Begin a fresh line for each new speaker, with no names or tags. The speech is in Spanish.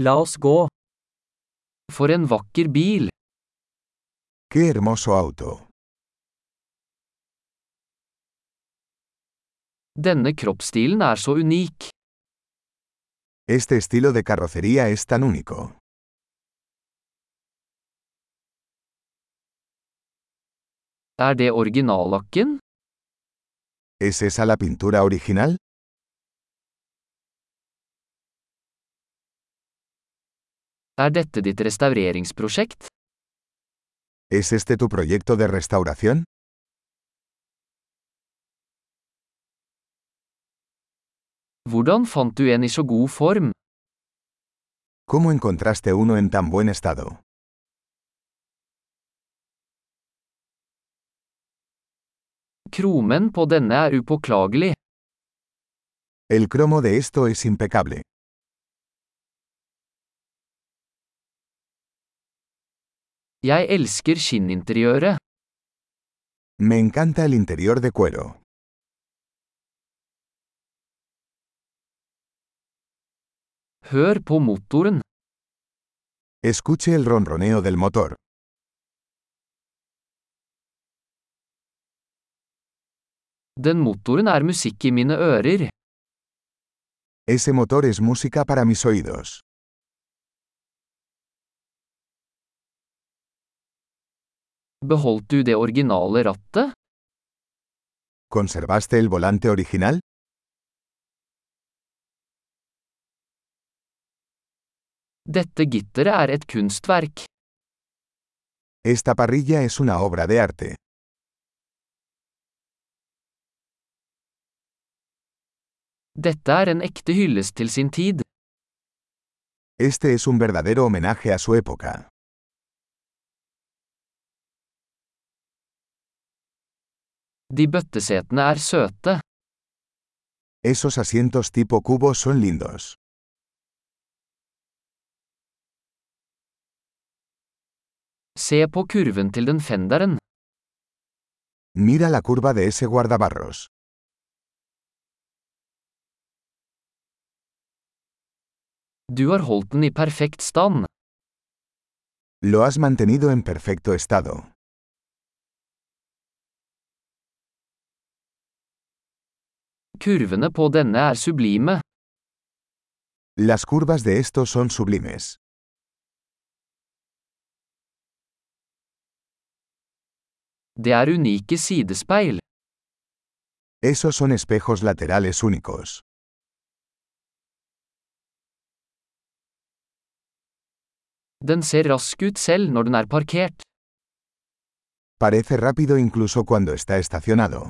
La oss gå. For en vakker bil.
¡Qué hermoso auto!
Denne kroppsstilen er så unik.
Este estilo de carrocería es tan único.
Er det originallakken?
¿Es esa la pintura original?
Er dette ditt restaureringsprosjekt?
¿Es este tu proyecto de restauración?
Hvordan fant du en i så god form?
¿Cómo encontraste uno en tan buen estado?
Kromen på denne er upåklagelig.
El cromo de esto es impecable.
Jeg elsker skinninteriøret.
Me encanta el interior de cuero.
Hør på motoren.
Escuche el ronroneo del motor.
Den motoren er musikk i mine ører.
Ese motor es música para mis oídos.
Beholdt du det originale rattet?
¿Conservaste el volante original?
Dette gitteret er et kunstverk.
Esta parrilla es una obra de arte.
Dette er en ekte hyllest til sin tid.
Este es un verdadero homenaje a su época.
De bøttesetene er søte.
Esos asientos tipo cubo son lindos.
Se på kurven til den fenderen.
Mira la curva de ese guardabarros.
Du har holdt den i perfekt stand.
Lo has mantenido en perfecto estado.
Kurvene på denne er sublime.
Las curvas de estos son sublimes.
Det er unike sidespeil.
Esos son espejos laterales únicos.
Den ser rask ut selv når den er parkert.
Parece rápido incluso cuando está estacionado.